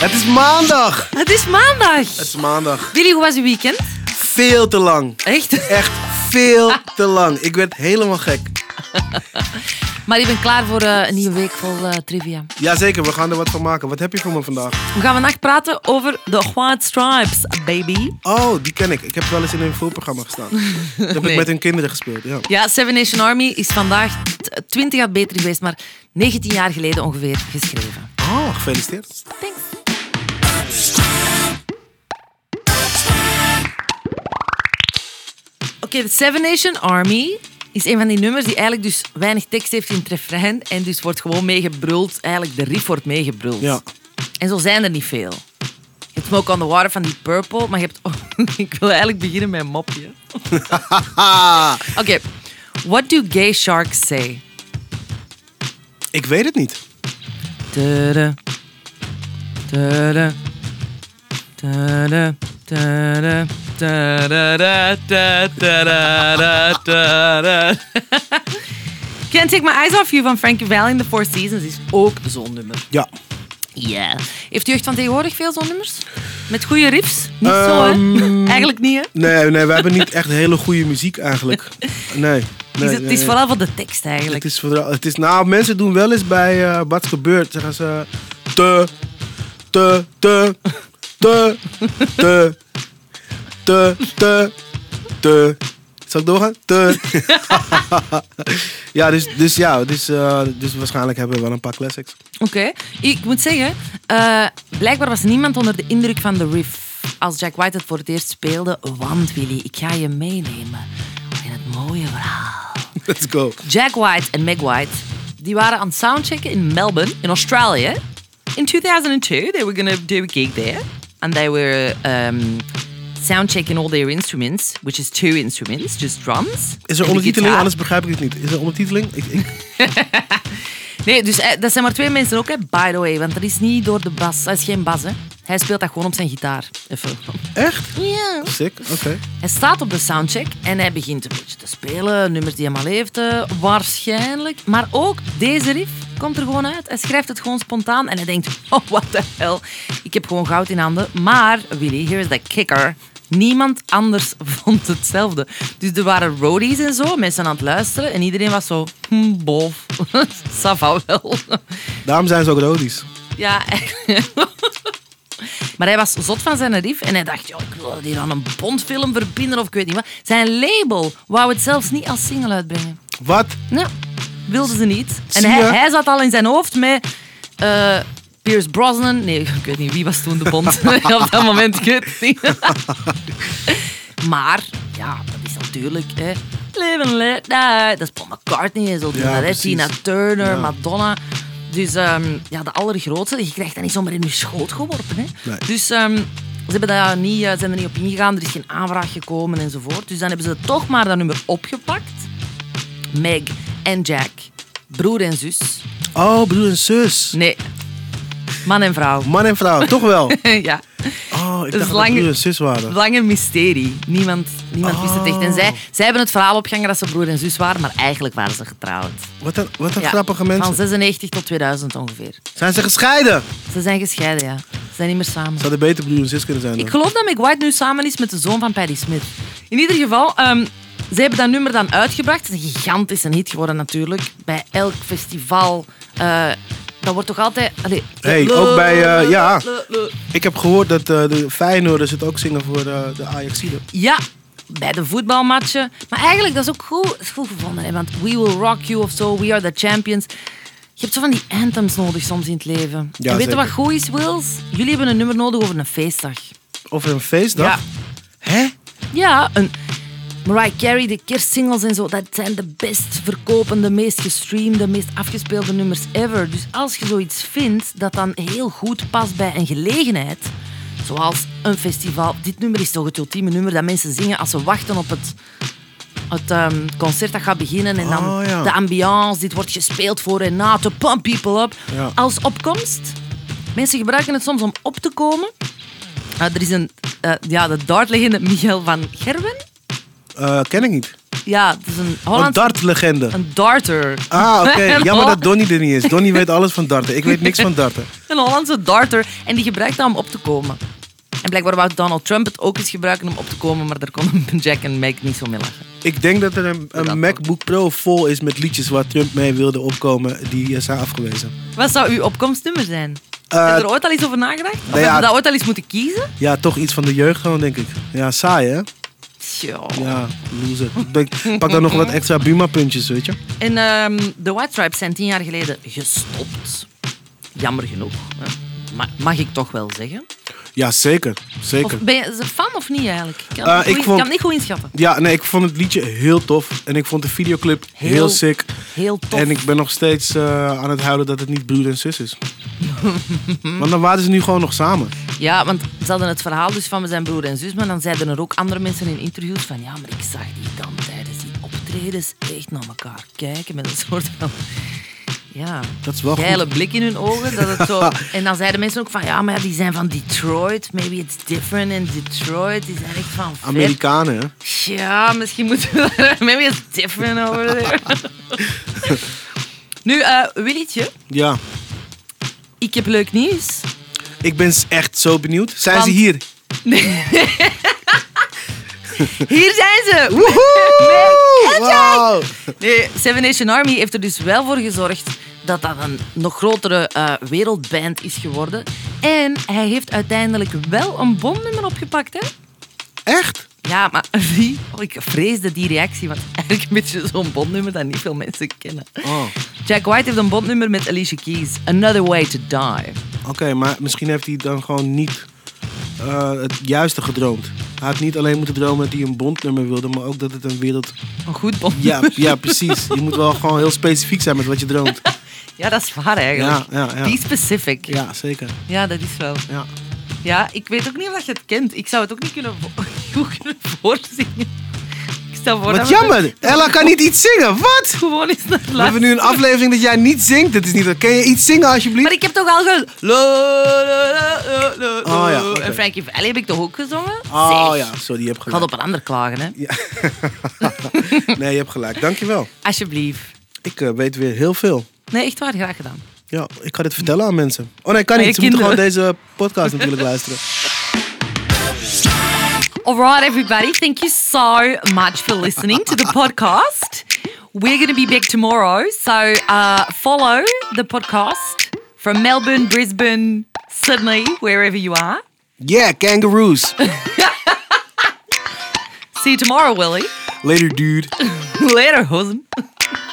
Het is maandag. Het is maandag. Het is maandag. Willy, hoe was je weekend? Veel te lang. Echt? Echt veel te lang. Ik werd helemaal gek. Maar ik ben klaar voor eh, een nieuwe week vol eh, trivia. Jazeker, we gaan er wat van maken. Wat heb je voor me vandaag? We gaan vandaag praten over de White Stripes, baby. Oh, die ken ik. Ik heb wel eens in een voorprogramma gestaan. Dat heb Nee. ik met hun kinderen gespeeld. Ja. Ja, Seven Nation Army is vandaag t- 20 jaar beter geweest, maar 19 jaar geleden ongeveer geschreven. Oh, gefeliciteerd. Thanks. Oké, de Seven Nation Army is een van die nummers die eigenlijk dus weinig tekst heeft in het refrein en dus wordt gewoon meegebruld. Eigenlijk de riff wordt meegebruld. Ja. En zo zijn er niet veel. Je hebt Smoke on the Water van die Purple, maar je hebt... ook- ik wil eigenlijk beginnen met een mopje. Haha. Oké, what do gay sharks say? Ik weet het niet. Tudu. Tudu. Tudu. Tudu. Tudu. Tudu. Tudu. Can't Take My Eyes Off You van Frankie Valli in The Four Seasons is ook zo'n nummer. Ja. Ja. Heeft de jeugd van tegenwoordig veel zo'n nummers? Met goede riffs? Niet zo, hè? Ehm, Eigenlijk niet, hè? Nee, nee, we hebben niet echt hele goede muziek eigenlijk. Nee. nee, het is, het nee, nee. is vooral van de tekst, eigenlijk. Het is, vooral- het is, nou, mensen doen wel eens bij eh wat gebeurt. Zeggen ze te, te, te, te, te, te, te, te. Zal ik doorgaan? Te. ja, dus, dus ja, dus, eh, dus waarschijnlijk hebben we wel een paar classics. Oké. Ik moet zeggen, eh, blijkbaar was niemand onder de indruk van de riff als Jack White het voor het eerst speelde. Want Willy, ik ga je meenemen in het mooie verhaal. Let's go. Jack White en Meg White, die waren aan het soundchecken in Melbourne, in Australië. In 2002, they were gonna do a gig there. And they were um, soundchecking all their instruments, which is two instruments, just drums. Is er en de ondertiteling? gitaar. Anders begrijp ik het niet. Is er ondertiteling? Ik, ik, Nee, dus eh, dat zijn maar twee mensen ook, hè, by the way. Want dat is niet door de bas. Dat is geen bas, hè. Hij speelt dat gewoon op zijn gitaar. Even. echt? Ja. Sick, oké. Hij staat op de soundcheck en hij begint een beetje te spelen. Nummers die hij al heeft, eh, waarschijnlijk. Maar ook deze riff komt er gewoon uit. Hij schrijft het gewoon spontaan en hij denkt... Oh, what the hell. Ik heb gewoon goud in handen. Maar, Willy, here is the kicker. Niemand anders vond hetzelfde. Dus er waren roadies en zo, mensen aan het luisteren. En iedereen was zo... Hm, bof. Sava wel. Daarom zijn ze ook rodies. Ja, eigenlijk. Maar hij was zot van zijn riff en hij dacht, "Ja, ik wil het hier aan een Bondfilm verbinden of ik weet niet wat. Zijn label wou het zelfs niet als single uitbrengen. Wat? Nou, wilden ze niet. En Zie hij, je? hij zat al in zijn hoofd met eh, Pierce Brosnan. Nee, ik weet niet, wie was toen de Bond op dat moment? Ik weet het niet. maar, ja, dat is natuurlijk... Hè, live and let die. Dat is Paul McCartney en zo. doen Ja, dat, hè, precies. Tina Turner, Ja. Madonna. Dus ehm, ja, de allergrootste, je krijgt dat niet zomaar in je schoot geworpen. Hè? Nee. Dus ehm, ze hebben daar niet, eh, zijn er niet op ingegaan, er is geen aanvraag gekomen enzovoort. Dus dan hebben ze toch maar dat nummer opgepakt. Meg en Jack, broer en zus. Oh, broer en zus. Nee, man en vrouw. Man en vrouw, toch wel? ja, Oh, ik dacht dat is Dus lang- broer en zus waren. lange mysterie. Niemand, niemand wist het Ah. echt. En zij, zij hebben het verhaal opgehangen dat ze broer en zus waren, maar eigenlijk waren ze getrouwd. Wat een, wat een Ja, grappige mensen. Van 96 tot 2000 ongeveer. Zijn ze gescheiden? Ze zijn gescheiden, ja. Ze zijn niet meer samen. Ze hadden beter broer en zus kunnen zijn. dan. Ik geloof dat Meg White nu samen is met de zoon van Patti Smith. In ieder geval, ehm, ze hebben dat nummer dan uitgebracht. Het is een gigantische hit geworden natuurlijk. Bij elk festival. Eh, dat wordt toch altijd... Allee, Hey, ook bij, eh, ja. Le- le- Ik heb gehoord dat eh, de Feyenoorders het ook zingen voor eh, de Ajaxiden. Ja, bij de voetbalmatchen. Maar eigenlijk, dat is ook goed, dat is goed gevonden. Hè? Want We Will Rock You of zo, We Are The Champions. Je hebt zo van die anthems nodig soms in het leven. Ja, en weet je zeker. wat goed is, Wills? Jullie hebben een nummer nodig over een feestdag. Over een feestdag? Ja. Hè? Ja, een Mariah Carey, de kerstsingles en zo, dat zijn de best verkopende, meest gestreamde, meest afgespeelde nummers ever. Dus als je zoiets vindt dat dan heel goed past bij een gelegenheid, zoals een festival. Dit nummer is toch het ultieme nummer dat mensen zingen als ze wachten op het, het ehm, concert dat gaat beginnen. En dan Oh, ja. de ambiance, dit wordt gespeeld voor en na, to pump people up. Ja. Als opkomst. Mensen gebruiken het soms om op te komen. Ah, er is een, eh, ja, de dartlegende Michael van Gerwen. Eh, ken ik niet. Ja, het is een Een Hollands... dartlegende. een darter. Ah, oké. Een Jammer Hol- dat Donnie er niet is. Donnie weet alles van darten. Ik weet niks van darten. Een Hollandse darter. En die gebruikt dat om op te komen. En blijkbaar wou Donald Trump het ook eens gebruiken om op te komen, maar daar konden Jack en Meg niet zo mee lachen. Ik denk dat er een, dat een MacBook Pro vol is met liedjes waar Trump mee wilde opkomen, die eh, zijn afgewezen. Wat zou uw opkomstnummer zijn? Eh, Heb je er ooit al iets over nagedacht? Of nou ja, heb je dat ooit al eens moeten kiezen? Ja, toch iets van de jeugd gewoon, denk ik. Ja, saai hè? Tjoh. Ja, loser. Ik Pak dan nog wat extra Buma-puntjes, weet je? En ehm, de White Stripes zijn tien jaar geleden gestopt. Jammer genoeg. hè. Ma- mag ik toch wel zeggen? Ja, zeker. Zeker. Of ben je ze fan of niet eigenlijk? Ik kan, Eh, het ik goed- vond- kan het niet goed inschatten. Ja, nee, ik vond het liedje heel tof. En ik vond de videoclip heel, Heel sick. Heel tof. En ik ben nog steeds eh, aan het huilen dat het niet broer en zus is. Want dan waren ze nu gewoon nog samen. Ja, want ze hadden het verhaal dus van zijn broer en zus, maar dan zeiden er ook andere mensen in interviews van ja, maar ik zag die dan tijdens die optredens echt naar elkaar kijken met een soort van... Ja, Dat is wel goed. geile blik in hun ogen. Dat het zo... en dan zeiden mensen ook van ja, maar ja, die zijn van Detroit. Maybe it's different in Detroit. Die zijn echt van vet. Amerikanen, hè? Ja, misschien moeten we daar... Maybe it's different over there. nu, eh Willietje, Ja. ik heb leuk nieuws. Ik ben s- echt zo benieuwd. Zijn Want- ze hier? Hier zijn ze! Woehoe! Jack! Wow! Nee, Seven Nation Army heeft er dus wel voor gezorgd dat dat een nog grotere eh, wereldband is geworden. En hij heeft uiteindelijk wel een bomnummer opgepakt, hè? Echt? Ja, maar wie? Oh, ik vreesde die reactie, want eigenlijk een beetje zo'n bondnummer dat niet veel mensen kennen. Oh. Jack White heeft een bondnummer met Alicia Keys, Another Way to Die. Oké, maar misschien heeft hij dan gewoon niet eh, het juiste gedroomd. Hij had niet alleen moeten dromen dat hij een bondnummer wilde, maar ook dat het een wereld... Een goed bondnummer. Ja, ja precies. Je moet wel gewoon heel specifiek zijn met wat je droomt. Ja, dat is waar eigenlijk. Ja, ja, ja. Be specific. Ja. Ja, zeker. dat is wel. Ja. Ja, ik weet ook niet of dat je het kent. Ik zou het ook niet kunnen, vo- goed kunnen voorzingen. Ik stel voor dat Wat we het- jammer! Ella kan niet iets zingen. Wat? gewoon eens naar We hebben luisteren. nu een aflevering dat jij niet zingt. Dat is niet... Kan je iets zingen Maar alsjeblieft? ik heb toch al ge... La, la, la, la, la, la. Oh ja, oké. En Frankie Valli heb ik toch ook gezongen? Oh Zeg, ja, sorry, je hebt Ik had gelijk. op een ander klagen, hè. Nee, je hebt gelijk. Dankjewel. Alsjeblieft. Ik eh, weet weer heel veel. Nee, echt waar, graag gedaan. Ja, ik ga dit vertellen aan mensen. Oh nee, kan Aan niet. je Ze moeten gewoon kinderen. deze podcast natuurlijk luisteren. Alright, everybody. Thank you so much for listening to the podcast. We're going to be back tomorrow. So uh, follow the podcast from Melbourne, Brisbane, Sydney, wherever you are. Yeah, kangaroos. See you tomorrow, Willie. Later, dude. Later, hosen.